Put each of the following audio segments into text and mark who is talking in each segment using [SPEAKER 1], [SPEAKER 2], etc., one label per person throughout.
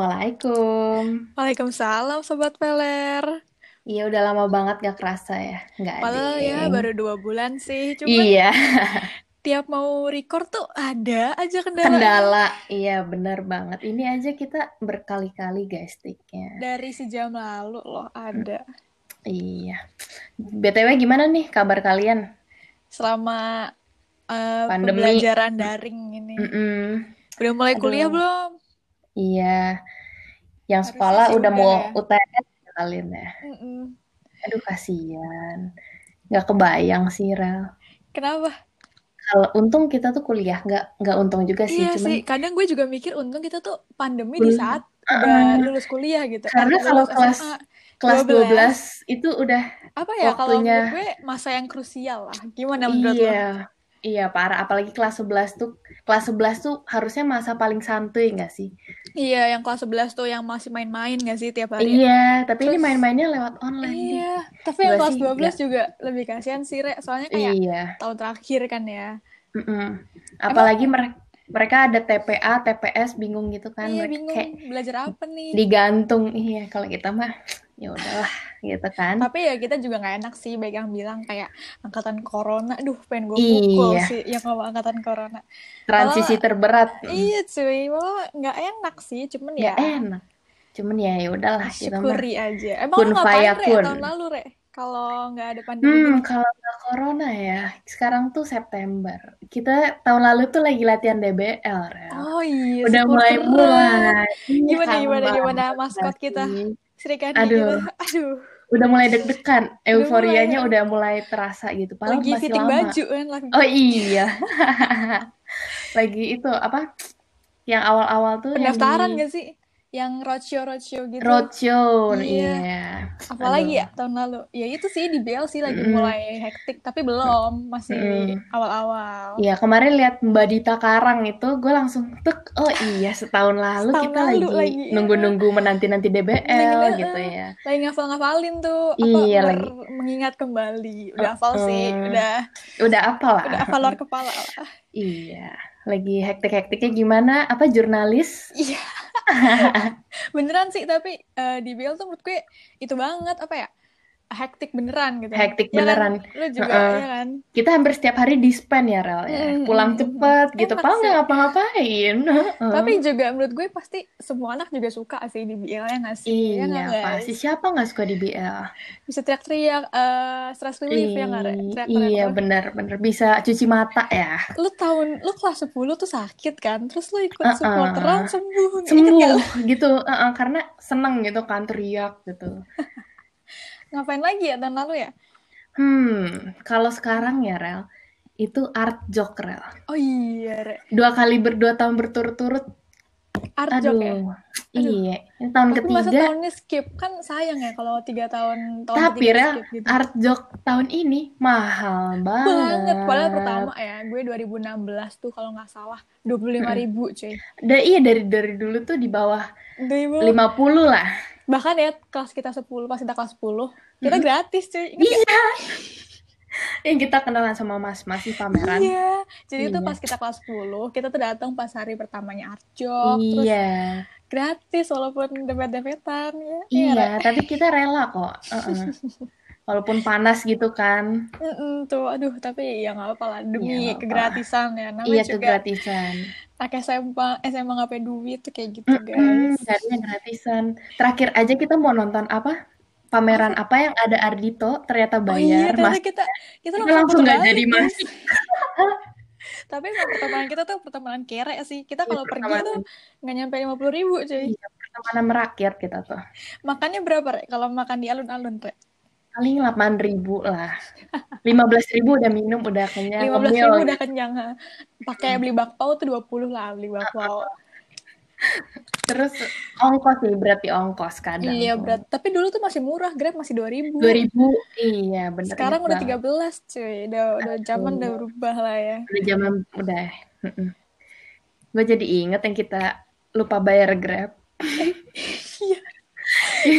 [SPEAKER 1] Assalamualaikum.
[SPEAKER 2] Waalaikumsalam Sobat Peler.
[SPEAKER 1] Iya, udah lama banget gak kerasa ya. Nggak,
[SPEAKER 2] Padahal ya
[SPEAKER 1] ding.
[SPEAKER 2] baru dua bulan sih, cuman
[SPEAKER 1] Iya,
[SPEAKER 2] tiap mau record tuh ada aja kendalanya.
[SPEAKER 1] kendala. Iya, bener banget. Ini aja kita berkali-kali guys take-nya.
[SPEAKER 2] Dari sejam lalu loh ada.
[SPEAKER 1] Iya. BTW gimana nih kabar kalian?
[SPEAKER 2] Selama eh,
[SPEAKER 1] Pandemi.
[SPEAKER 2] pembelajaran daring ini.
[SPEAKER 1] Mm-mm.
[SPEAKER 2] Udah mulai
[SPEAKER 1] Aduh.
[SPEAKER 2] kuliah belum?
[SPEAKER 1] Iya. Yang
[SPEAKER 2] Harusnya
[SPEAKER 1] sekolah
[SPEAKER 2] sih
[SPEAKER 1] udah
[SPEAKER 2] udah
[SPEAKER 1] mau
[SPEAKER 2] ya.
[SPEAKER 1] UTS kalian ya.
[SPEAKER 2] Mm-mm.
[SPEAKER 1] Aduh, kasihan. Nggak kebayang sih, Rel.
[SPEAKER 2] Kenapa?
[SPEAKER 1] Kalau untung kita tuh kuliah. Nggak, nggak untung juga sih,
[SPEAKER 2] Iya
[SPEAKER 1] cuman
[SPEAKER 2] sih, kadang gue juga mikir untung kita tuh pandemi di
[SPEAKER 1] kuliah.
[SPEAKER 2] saat udah
[SPEAKER 1] Uh-uh.
[SPEAKER 2] lulus kuliah gitu. Eh,
[SPEAKER 1] Karena kalau
[SPEAKER 2] lulus
[SPEAKER 1] kelas
[SPEAKER 2] SMA.
[SPEAKER 1] kelas 12
[SPEAKER 2] 12.
[SPEAKER 1] itu udah
[SPEAKER 2] Apa ya, kalau menurut
[SPEAKER 1] waktunya
[SPEAKER 2] gue masa yang krusial lah. Gimana menurut
[SPEAKER 1] iya
[SPEAKER 2] lo?
[SPEAKER 1] iya parah apalagi kelas 11 tuh kelas 11 tuh harusnya masa paling santuy nggak sih?
[SPEAKER 2] Iya, yang kelas 11 tuh yang masih main-main gak sih tiap hari?
[SPEAKER 1] Iya, tapi ini
[SPEAKER 2] Terus,
[SPEAKER 1] main-mainnya lewat online deh.
[SPEAKER 2] iya. Tapi yang
[SPEAKER 1] Gua
[SPEAKER 2] kelas
[SPEAKER 1] sih
[SPEAKER 2] 12
[SPEAKER 1] Nah, nggak
[SPEAKER 2] juga lebih kasihan sih, Re. Soalnya kayak
[SPEAKER 1] iya.
[SPEAKER 2] tahun terakhir kan ya.
[SPEAKER 1] mm-mm.
[SPEAKER 2] Emang,
[SPEAKER 1] Apalagi mereka mereka ada TPA, TPS bingung gitu kan
[SPEAKER 2] iya
[SPEAKER 1] mereka
[SPEAKER 2] bingung.
[SPEAKER 1] kayak
[SPEAKER 2] Belajar apa nih?
[SPEAKER 1] digantung. Iya, kalau kita mah ya udahlah gitu kan.
[SPEAKER 2] Tapi ya kita juga gak enak sih, baik yang bilang kayak angkatan corona. Duh, pengen gue pukul
[SPEAKER 1] Iya,
[SPEAKER 2] sih yang sama angkatan corona. Malah,
[SPEAKER 1] transisi terberat. Mm.
[SPEAKER 2] iya cuy, malah gak enak sih. Cuman ya,
[SPEAKER 1] Nggak enak. Cuman ya ya udahlah kita mah
[SPEAKER 2] syukuri aja. Emang
[SPEAKER 1] kun
[SPEAKER 2] lo ngapain, Re,
[SPEAKER 1] fayakun.
[SPEAKER 2] tahun lalu, Re? Kalau nggak ada pandemi
[SPEAKER 1] Hmm,
[SPEAKER 2] gini?
[SPEAKER 1] kalau nggak corona ya, sekarang tuh September. Kita tahun lalu tuh lagi latihan DBL, Rel.
[SPEAKER 2] Oh iya,
[SPEAKER 1] Udah
[SPEAKER 2] syukur-syukuran.
[SPEAKER 1] mulai-mulai. Iya,
[SPEAKER 2] Gimana,
[SPEAKER 1] kangen
[SPEAKER 2] gimana, gimana
[SPEAKER 1] banget gak
[SPEAKER 2] maskot kita?
[SPEAKER 1] sih?
[SPEAKER 2] Serikandi
[SPEAKER 1] Aduh,
[SPEAKER 2] kita. Aduh,
[SPEAKER 1] udah mulai deg-degan.
[SPEAKER 2] udah mulai
[SPEAKER 1] Euforianya
[SPEAKER 2] ya.
[SPEAKER 1] udah mulai terasa gitu. Padahal
[SPEAKER 2] Lagi
[SPEAKER 1] masih
[SPEAKER 2] fitting
[SPEAKER 1] lama.
[SPEAKER 2] baju kan lagi.
[SPEAKER 1] Oh iya, lagi itu apa? Yang awal-awal tuh yang di
[SPEAKER 2] Pendaftaran gitu. gak sih? Yang roadshow-roadshow gitu.
[SPEAKER 1] roadshow.
[SPEAKER 2] Iya.
[SPEAKER 1] Iya,
[SPEAKER 2] Apalagi
[SPEAKER 1] aduh.
[SPEAKER 2] ya tahun lalu. Ya itu sih di BL sih lagi
[SPEAKER 1] Mm-mm.
[SPEAKER 2] mulai hektik. Tapi belum. Masih
[SPEAKER 1] Mm-mm.
[SPEAKER 2] awal-awal.
[SPEAKER 1] Iya, kemarin lihat Mbak Dita Karang itu, gue langsung tek, oh iya setahun lalu
[SPEAKER 2] Setahun
[SPEAKER 1] kita
[SPEAKER 2] lalu
[SPEAKER 1] lagi
[SPEAKER 2] lagi ya.
[SPEAKER 1] nunggu-nunggu menanti-nanti DBL
[SPEAKER 2] Nungguinnya,
[SPEAKER 1] gitu
[SPEAKER 2] eh,
[SPEAKER 1] ya.
[SPEAKER 2] lagi ngafal-ngafalin tuh. Apa,
[SPEAKER 1] Iya
[SPEAKER 2] mer
[SPEAKER 1] lagi, Oh,
[SPEAKER 2] mengingat kembali. Udah hafal sih.
[SPEAKER 1] Heeh.
[SPEAKER 2] Udah,
[SPEAKER 1] udah apa lah?
[SPEAKER 2] udah hafal luar kepala lah.
[SPEAKER 1] Iya, lagi hektik-hektiknya gimana? Apa jurnalis?
[SPEAKER 2] Iya. Beneran sih, tapi eh, di BL tuh menurut gue itu banget, apa ya, hektik beneran gitu.
[SPEAKER 1] Hektik
[SPEAKER 2] Ya kan,
[SPEAKER 1] beneran.
[SPEAKER 2] lu juga,
[SPEAKER 1] Heeh.
[SPEAKER 2] ya kan?
[SPEAKER 1] Kita hampir setiap hari di span ya, Rel ya.
[SPEAKER 2] Mm,
[SPEAKER 1] Pulang
[SPEAKER 2] mm, mm.
[SPEAKER 1] cepet gitu,
[SPEAKER 2] Enak
[SPEAKER 1] padahal nggak
[SPEAKER 2] sih.
[SPEAKER 1] ngapa-ngapain. Heeh.
[SPEAKER 2] Tapi juga menurut gue pasti semua anak juga suka sih di BL, ya nggak sih? Ya
[SPEAKER 1] Iya,
[SPEAKER 2] nggak guys?
[SPEAKER 1] pasti siapa nggak suka DBL?
[SPEAKER 2] Bisa teriak-teriak, eh stress relief ya nggak, Re?
[SPEAKER 1] I-
[SPEAKER 2] Teriak-teriak
[SPEAKER 1] iya,
[SPEAKER 2] terus.
[SPEAKER 1] benar-benar bisa cuci mata ya.
[SPEAKER 2] Lu tahun, lu kelas 10 tuh sakit kan? Terus lu ikut
[SPEAKER 1] Heeh.
[SPEAKER 2] supporteran sembuh, inget nggak lu?
[SPEAKER 1] sembuh gitu Heeh, karena seneng gitu kan teriak gitu
[SPEAKER 2] Ngapain lagi ya tahun lalu ya?
[SPEAKER 1] hmm kalau sekarang ya Rel itu art jok Rel
[SPEAKER 2] Oh iya, Re.
[SPEAKER 1] dua kali berdua tahun berturut-turut
[SPEAKER 2] Arjok ya?
[SPEAKER 1] aduh
[SPEAKER 2] Aduh,
[SPEAKER 1] iya ini tahun
[SPEAKER 2] Tapi masa
[SPEAKER 1] ketiga
[SPEAKER 2] tahunnya skip? Kan sayang ya kalau tiga tahun, tahun
[SPEAKER 1] tapi
[SPEAKER 2] ketiga di
[SPEAKER 1] Rel
[SPEAKER 2] skip gitu.
[SPEAKER 1] art jok tahun ini mahal
[SPEAKER 2] Banget, padahal
[SPEAKER 1] banget
[SPEAKER 2] pertama ya, gue 2016 tuh kalau nggak salah 25
[SPEAKER 1] Mm-mm.
[SPEAKER 2] ribu cuy.
[SPEAKER 1] Da- iya dari dari dulu tuh di bawah
[SPEAKER 2] Dari bawah.
[SPEAKER 1] 50 lah
[SPEAKER 2] Bahkan ya kelas kita 10, pas kita kelas 10, kita
[SPEAKER 1] Mm-mm.
[SPEAKER 2] gratis cuy, inget gak?
[SPEAKER 1] iya yang kita kenalan sama mas masih pameran
[SPEAKER 2] Iya, jadi tuh
[SPEAKER 1] kan? iya
[SPEAKER 2] pas kita kelas 10, kita tuh datang pas hari pertamanya Arjok, Oh, terus
[SPEAKER 1] iya
[SPEAKER 2] gratis walaupun dempet-dempetan, ya, iya
[SPEAKER 1] Iya,
[SPEAKER 2] Re.
[SPEAKER 1] tapi kita rela kok. Heeh. Walaupun panas gitu kan.
[SPEAKER 2] Mm-mm, tuh, aduh, tapi ya nggak apa-apa lah,
[SPEAKER 1] Iya,
[SPEAKER 2] demi
[SPEAKER 1] nggak apa.
[SPEAKER 2] kegratisan ya, namanya
[SPEAKER 1] Iya,
[SPEAKER 2] juga
[SPEAKER 1] kegratisan.
[SPEAKER 2] anak SMA, SMA nggak punya duit tuh kayak gitu guys.
[SPEAKER 1] Mm-mm, Jadinya gratisan. Terakhir aja kita mau nonton apa? Pameran
[SPEAKER 2] Apa
[SPEAKER 1] apa yang ada Ardito, ternyata
[SPEAKER 2] Oh iya,
[SPEAKER 1] bayar. Mas,
[SPEAKER 2] ternyata kita kita
[SPEAKER 1] kita
[SPEAKER 2] langsung
[SPEAKER 1] langsung
[SPEAKER 2] puter
[SPEAKER 1] nggak jadi
[SPEAKER 2] balik, guys.
[SPEAKER 1] masuk.
[SPEAKER 2] Tapi emang pertemanan kita tuh pertemanan kere sih. Kita
[SPEAKER 1] Iya,
[SPEAKER 2] kalau pergi tuh
[SPEAKER 1] pertemanan.
[SPEAKER 2] nggak nyampe 50 ribu, cuy.
[SPEAKER 1] Iya, pertemanan merakyat kita tuh.
[SPEAKER 2] Makannya berapa, Rek? Kalau makan di alun-alun, Rek?
[SPEAKER 1] Paling 8.000 ribu lah. 15.000 ribu udah minum, udah kenyang,
[SPEAKER 2] 15
[SPEAKER 1] ngemil
[SPEAKER 2] ribu udah
[SPEAKER 1] gitu.
[SPEAKER 2] kenyang. ha. Pakai
[SPEAKER 1] Mm.
[SPEAKER 2] beli bakpao tuh 20 lah beli
[SPEAKER 1] Ah,
[SPEAKER 2] bakpao.
[SPEAKER 1] Terus ongkos nih, berarti ongkos kadang
[SPEAKER 2] Iya,
[SPEAKER 1] tuh.
[SPEAKER 2] berat. Tapi dulu tuh masih murah, Grab masih 2 ribu.
[SPEAKER 1] 2.000, iya bener
[SPEAKER 2] Sekarang
[SPEAKER 1] inget
[SPEAKER 2] udah
[SPEAKER 1] banget.
[SPEAKER 2] 13, cuy. Udah, udah zaman udah
[SPEAKER 1] Tuh.
[SPEAKER 2] berubah lah ya.
[SPEAKER 1] udah zaman udah gue jadi inget yang kita lupa bayar Grab
[SPEAKER 2] Iya,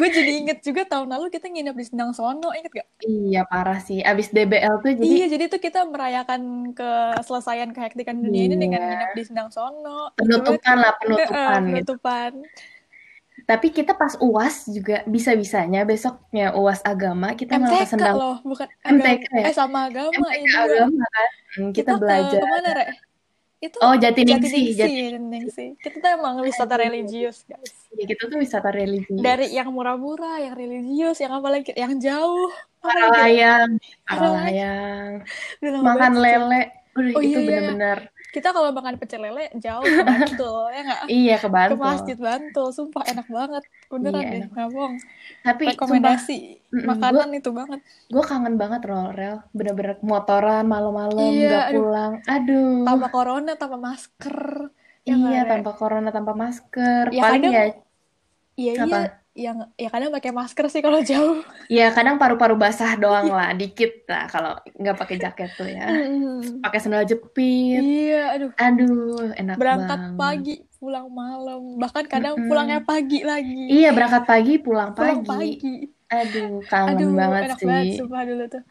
[SPEAKER 2] gue jadi inget juga tahun lalu kita nginep di Sendang Sono, inget gak?
[SPEAKER 1] Iya parah sih. Abis DBL tuh jadi
[SPEAKER 2] iya, jadi tuh kita merayakan keselesaian kehektikan dunia ini dengan
[SPEAKER 1] Iya.
[SPEAKER 2] nginep di Sendang Sono.
[SPEAKER 1] penutupan lah
[SPEAKER 2] Itu, eh,
[SPEAKER 1] penutupan. gitu.
[SPEAKER 2] penutupan.
[SPEAKER 1] Tapi kita pas uas juga bisa bisanya besoknya uas agama kita malah
[SPEAKER 2] MTK
[SPEAKER 1] kesendang
[SPEAKER 2] loh, bukan
[SPEAKER 1] MTK
[SPEAKER 2] agama.
[SPEAKER 1] ya?
[SPEAKER 2] Eh, sama agama
[SPEAKER 1] MTK
[SPEAKER 2] ini juga.
[SPEAKER 1] agama kan. Kita,
[SPEAKER 2] ke-
[SPEAKER 1] belajar.
[SPEAKER 2] kemana, Re? Itu
[SPEAKER 1] Oh Jatiningsih.
[SPEAKER 2] Jatiningsih, Jatiningsih. Kita tuh emang wisata religius, guys.
[SPEAKER 1] Jadi kita tuh wisata religi.
[SPEAKER 2] Dari yang murah-murah, yang religius, yang apa lagi, yang jauh. Apa lagi?
[SPEAKER 1] Paralayang,
[SPEAKER 2] Paralayang.
[SPEAKER 1] Paralayang,
[SPEAKER 2] Udah lama
[SPEAKER 1] makan
[SPEAKER 2] banget sih.
[SPEAKER 1] lele. Udah,
[SPEAKER 2] Oh,
[SPEAKER 1] itu
[SPEAKER 2] iya, iya.
[SPEAKER 1] bener-bener
[SPEAKER 2] Kita kalau makan pecel lele jauh ke Bantul, ya nggak?
[SPEAKER 1] iya ke
[SPEAKER 2] Ke
[SPEAKER 1] Bantul.
[SPEAKER 2] masjid Bantul, sumpah enak banget. Beneran
[SPEAKER 1] Iya,
[SPEAKER 2] deh,
[SPEAKER 1] enak.
[SPEAKER 2] nggak bohong.
[SPEAKER 1] Tapi sumpah
[SPEAKER 2] Rekomendasi
[SPEAKER 1] Mm-mm,
[SPEAKER 2] makanan itu banget.
[SPEAKER 1] gue kangen banget loh rel, bener-bener motoran malam-malam
[SPEAKER 2] Iya,
[SPEAKER 1] nggak
[SPEAKER 2] aduh.
[SPEAKER 1] pulang. Aduh.
[SPEAKER 2] Tanpa corona, tanpa masker. Ya nggak,
[SPEAKER 1] Iya,
[SPEAKER 2] Re?
[SPEAKER 1] tanpa corona, tanpa masker.
[SPEAKER 2] Ya,
[SPEAKER 1] Paling
[SPEAKER 2] kadang-
[SPEAKER 1] ya,
[SPEAKER 2] Iya,
[SPEAKER 1] apa?
[SPEAKER 2] iya. Yang, ya kadang pakai masker sih kalau jauh.
[SPEAKER 1] ya kadang paru-paru basah doang
[SPEAKER 2] Iya.
[SPEAKER 1] lah, dikit lah kalau nggak pakai jaket tuh ya.
[SPEAKER 2] Mm-mm.
[SPEAKER 1] Pakai sandal jepit.
[SPEAKER 2] Iya, aduh.
[SPEAKER 1] Aduh, enak
[SPEAKER 2] Berangkat
[SPEAKER 1] banget.
[SPEAKER 2] pagi, pulang malam. Bahkan kadang
[SPEAKER 1] Mm-mm.
[SPEAKER 2] pulangnya pagi lagi.
[SPEAKER 1] Iya, berangkat pagi, pulang
[SPEAKER 2] Pulang
[SPEAKER 1] pagi.
[SPEAKER 2] pagi.
[SPEAKER 1] Aduh, kangen
[SPEAKER 2] Aduh,
[SPEAKER 1] banget
[SPEAKER 2] enak
[SPEAKER 1] sih.
[SPEAKER 2] banget sumpah dulu tuh.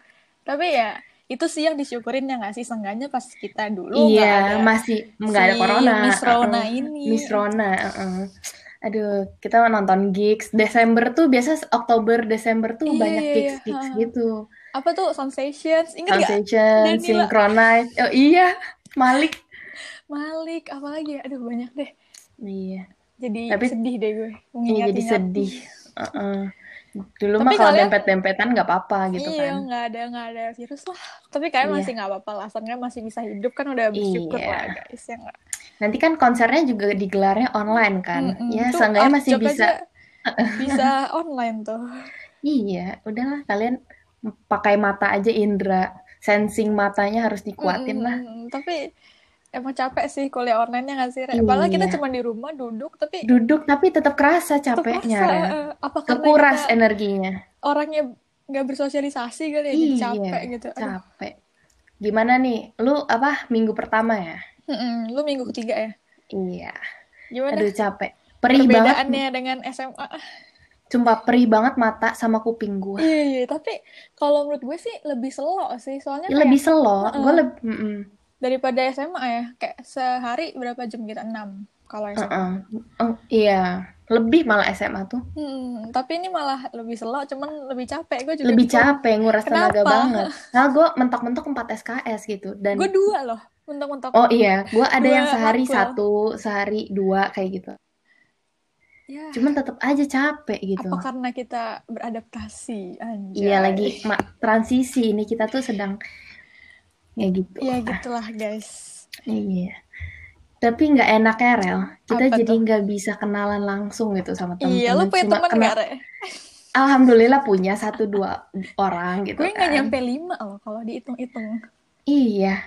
[SPEAKER 2] Tapi ya, itu sih yang disyukurin ya nggak sih? Seenggaknya pas kita dulu
[SPEAKER 1] Iya,
[SPEAKER 2] nggak ada
[SPEAKER 1] masih nggak ada
[SPEAKER 2] si
[SPEAKER 1] corona.
[SPEAKER 2] Miss Rona
[SPEAKER 1] Heeh.
[SPEAKER 2] ini.
[SPEAKER 1] Miss Rona, heeh. Aduh, kita nonton gigs. Desember tuh biasa Oktober, Desember tuh
[SPEAKER 2] Iya,
[SPEAKER 1] banyak
[SPEAKER 2] iya, iya.
[SPEAKER 1] gigs-gigs
[SPEAKER 2] Ha.
[SPEAKER 1] gitu.
[SPEAKER 2] Apa tuh Sensations? Ingat nggak?
[SPEAKER 1] Sensation,
[SPEAKER 2] Danila.
[SPEAKER 1] Synchronize. Oh iya, Malik.
[SPEAKER 2] Malik, apa lagi? ya? Aduh, banyak deh.
[SPEAKER 1] Iya,
[SPEAKER 2] Jadi
[SPEAKER 1] Tapi-
[SPEAKER 2] sedih deh gue.
[SPEAKER 1] ini
[SPEAKER 2] mengingat
[SPEAKER 1] jadi sedih. Heeh. Dulu
[SPEAKER 2] Tapi
[SPEAKER 1] mah kalau
[SPEAKER 2] kalian-
[SPEAKER 1] dempet-dempetan nggak apa-apa gitu
[SPEAKER 2] iya,
[SPEAKER 1] kan.
[SPEAKER 2] nggak ada nggak ada virus lah. Tapi kalian
[SPEAKER 1] Iya.
[SPEAKER 2] masih nggak apa-apa lah, seenggaknya masih bisa hidup kan udah bersyukur
[SPEAKER 1] Iya.
[SPEAKER 2] lah guys ya nggak.
[SPEAKER 1] Nanti kan konsernya juga digelarnya online kan.
[SPEAKER 2] Mm-mm.
[SPEAKER 1] Ya,
[SPEAKER 2] Tuh,
[SPEAKER 1] seenggaknya masih
[SPEAKER 2] Arjok
[SPEAKER 1] bisa.
[SPEAKER 2] aja bisa online tuh.
[SPEAKER 1] Iya, udahlah kalian pakai mata aja indra. Sensing matanya harus dikuatin lah.
[SPEAKER 2] Mm-mm. Tapi emang capek sih kuliah online-nya nggak sih? Re?
[SPEAKER 1] Iya.
[SPEAKER 2] Padahal kita cuma di rumah duduk tapi
[SPEAKER 1] Duduk tapi tetap kerasa
[SPEAKER 2] tetap
[SPEAKER 1] capeknya, kan.
[SPEAKER 2] kerasa,
[SPEAKER 1] Rel.
[SPEAKER 2] eh, apa karena
[SPEAKER 1] Kekuras
[SPEAKER 2] kita
[SPEAKER 1] energinya.
[SPEAKER 2] orangnya nggak bersosialisasi kali ya, jadi
[SPEAKER 1] Iya,
[SPEAKER 2] capek gitu. Aduh.
[SPEAKER 1] Capek. Gimana nih? Lu apa minggu pertama ya?
[SPEAKER 2] Mm-mm. Lu minggu ketiga ya?
[SPEAKER 1] Iya.
[SPEAKER 2] Gimana
[SPEAKER 1] Aduh capek. Perih banget,
[SPEAKER 2] perbedaannya dengan SMA?
[SPEAKER 1] sumpah perih banget mata sama kuping gua.
[SPEAKER 2] Iya, iya, tapi kalau menurut gue sih lebih selo sih, soalnya
[SPEAKER 1] Ya,
[SPEAKER 2] kayak
[SPEAKER 1] lebih selo,
[SPEAKER 2] kan, Heeh.
[SPEAKER 1] gua lebih mm-mm.
[SPEAKER 2] daripada SMA ya, kayak sehari berapa jam kita? 6 kalau SMA.
[SPEAKER 1] Heeh. Oh, iya, lebih malah SMA tuh.
[SPEAKER 2] Hmm, tapi ini malah lebih selo, cuman lebih capek. Gue juga
[SPEAKER 1] Lebih
[SPEAKER 2] bingung.
[SPEAKER 1] capek, nguras tenaga
[SPEAKER 2] Kenapa?
[SPEAKER 1] banget. Nah, gua mentok-mentok 4 SKS gitu dan
[SPEAKER 2] Gue dua loh, mentok-mentok.
[SPEAKER 1] Oh iya, gua ada
[SPEAKER 2] Dua
[SPEAKER 1] yang sehari
[SPEAKER 2] matkul.
[SPEAKER 1] satu, sehari dua kayak gitu.
[SPEAKER 2] Ya,
[SPEAKER 1] Cuman tetap aja capek gitu.
[SPEAKER 2] apa karena kita beradaptasi? Anjay.
[SPEAKER 1] Iya lagi mak, transisi ini kita tuh sedang ya gitu.
[SPEAKER 2] Ya gitulah guys.
[SPEAKER 1] Iya. Tapi nggak enaknya Rel, kita
[SPEAKER 2] Apa
[SPEAKER 1] jadi
[SPEAKER 2] tuh?
[SPEAKER 1] nggak bisa kenalan langsung gitu sama temen-temen.
[SPEAKER 2] Iya, lu punya
[SPEAKER 1] Cuma
[SPEAKER 2] teman
[SPEAKER 1] kenal-
[SPEAKER 2] gak, Re?
[SPEAKER 1] Alhamdulillah punya satu dua orang gitu
[SPEAKER 2] Gue gak
[SPEAKER 1] kan.
[SPEAKER 2] nyampe lima loh kalau dihitung-hitung.
[SPEAKER 1] Iya,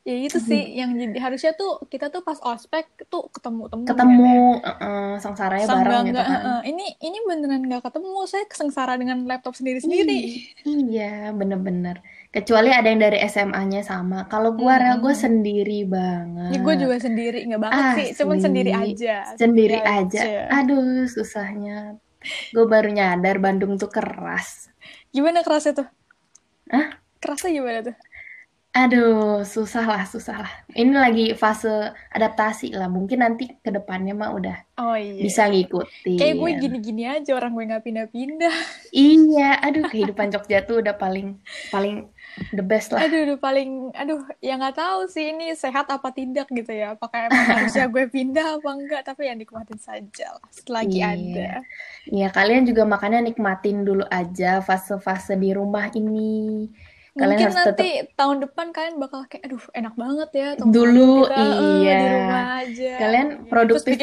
[SPEAKER 2] Ya itu
[SPEAKER 1] Hmm.
[SPEAKER 2] sih yang jadi harusnya tuh kita tuh pas ospek tuh ketemu temen ya, Re.
[SPEAKER 1] ketemu eh, sengsaranya
[SPEAKER 2] Sang
[SPEAKER 1] bareng gitu
[SPEAKER 2] bangga,
[SPEAKER 1] kan.
[SPEAKER 2] heeh. ini ini beneran nggak ketemu. Saya kesengsara dengan laptop sendiri-sendiri.
[SPEAKER 1] Iya, bener-bener. Kecuali ada yang dari SMA-nya sama. Kalau gua
[SPEAKER 2] Mm-mm.
[SPEAKER 1] rel, gua sendiri banget.
[SPEAKER 2] Ini gue Ya, juga sendiri, nggak banget sih,
[SPEAKER 1] Asli.
[SPEAKER 2] cuman sendiri aja.
[SPEAKER 1] Ah, Sendiri
[SPEAKER 2] ya,
[SPEAKER 1] aja. Aduh, susahnya. Gue baru nyadar Bandung tuh keras.
[SPEAKER 2] Gimana kerasnya tuh?
[SPEAKER 1] Hah?
[SPEAKER 2] Kerasnya gimana tuh?
[SPEAKER 1] Aduh, susah lah, susah lah. Ini lagi fase adaptasi lah. Mungkin nanti ke depannya mah udah
[SPEAKER 2] Oh iya.
[SPEAKER 1] bisa iya. ngikutin.
[SPEAKER 2] Kayak gue gini-gini aja orang gue nggak pindah-pindah.
[SPEAKER 1] Iya, aduh kehidupan Jogja tuh udah paling paling the best lah.
[SPEAKER 2] Aduh, aduh paling aduh ya nggak tahu sih ini sehat apa tidak gitu ya. Apakah emang harusnya gue pindah apa enggak? Tapi ya nikmatin saja lah selagi
[SPEAKER 1] Iya.
[SPEAKER 2] ada.
[SPEAKER 1] Iya, kalian juga makanya nikmatin dulu aja fase-fase di rumah ini. Kalian
[SPEAKER 2] Mungkin
[SPEAKER 1] harus
[SPEAKER 2] nanti tahun depan kalian bakal kayak aduh enak banget ya teman-teman
[SPEAKER 1] Dulu,
[SPEAKER 2] kita, eh,
[SPEAKER 1] iya.
[SPEAKER 2] di rumah aja.
[SPEAKER 1] Kalian
[SPEAKER 2] ya, Terus bikin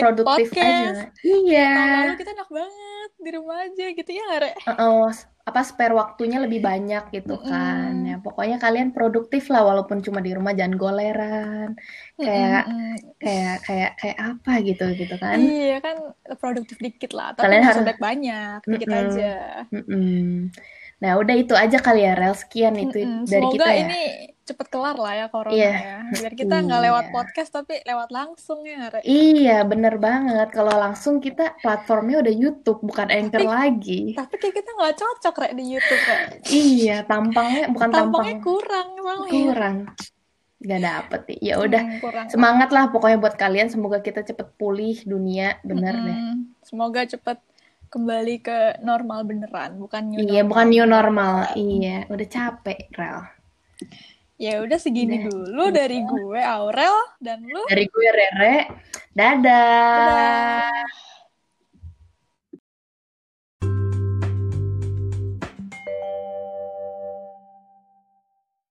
[SPEAKER 1] produktif-produktif
[SPEAKER 2] podcast.
[SPEAKER 1] aja. Iya.
[SPEAKER 2] Tahun lalu kita enak banget di rumah aja gitu ya, Re.
[SPEAKER 1] Uh-uh, apa spare waktunya lebih banyak gitu kan.
[SPEAKER 2] Mm-mm.
[SPEAKER 1] Ya, pokoknya kalian produktif lah walaupun cuma di rumah jangan goleran. Kayak
[SPEAKER 2] Mm-mm-mm.
[SPEAKER 1] kayak kayak kayak apa gitu gitu kan.
[SPEAKER 2] Iya kan produktif dikit lah, tapi
[SPEAKER 1] Kalian
[SPEAKER 2] nggak
[SPEAKER 1] harus-
[SPEAKER 2] sobek banyak, dikit
[SPEAKER 1] Mm-mm.
[SPEAKER 2] aja.
[SPEAKER 1] Mm-mm. Nah, udah itu aja kali ya Rel. Sekian itu
[SPEAKER 2] Mm-mm.
[SPEAKER 1] dari
[SPEAKER 2] Semoga
[SPEAKER 1] kita ya.
[SPEAKER 2] ini cepet kelar lah ya corona
[SPEAKER 1] Iya.
[SPEAKER 2] ya. Biar kita nggak lewat
[SPEAKER 1] Iya.
[SPEAKER 2] podcast tapi lewat langsung ya nggak, Re?
[SPEAKER 1] Iya, bener banget. Kalau langsung kita platformnya udah YouTube, bukan Anchor
[SPEAKER 2] Tapi-
[SPEAKER 1] lagi.
[SPEAKER 2] Tapi kayak kita nggak cocok Re di YouTube Re.
[SPEAKER 1] Iya, tampangnya bukan tampang
[SPEAKER 2] Tampangnya kurang emang ya.
[SPEAKER 1] kurang. Gak dapet nih. Ya udah,
[SPEAKER 2] Hmm, kurang.
[SPEAKER 1] semangat lah pokoknya buat kalian. Semoga kita cepet pulih dunia, bener deh.
[SPEAKER 2] Mm-mm. Semoga cepet kembali ke normal beneran, bukan new
[SPEAKER 1] Iya,
[SPEAKER 2] normal.
[SPEAKER 1] bukan new normal. Iya, udah capek, Rel.
[SPEAKER 2] Ya udah
[SPEAKER 1] Udah.
[SPEAKER 2] segini dulu dari
[SPEAKER 1] Iya.
[SPEAKER 2] gue Aurel dan lu.
[SPEAKER 1] Dari gue Rere, dadah.
[SPEAKER 2] Dadah.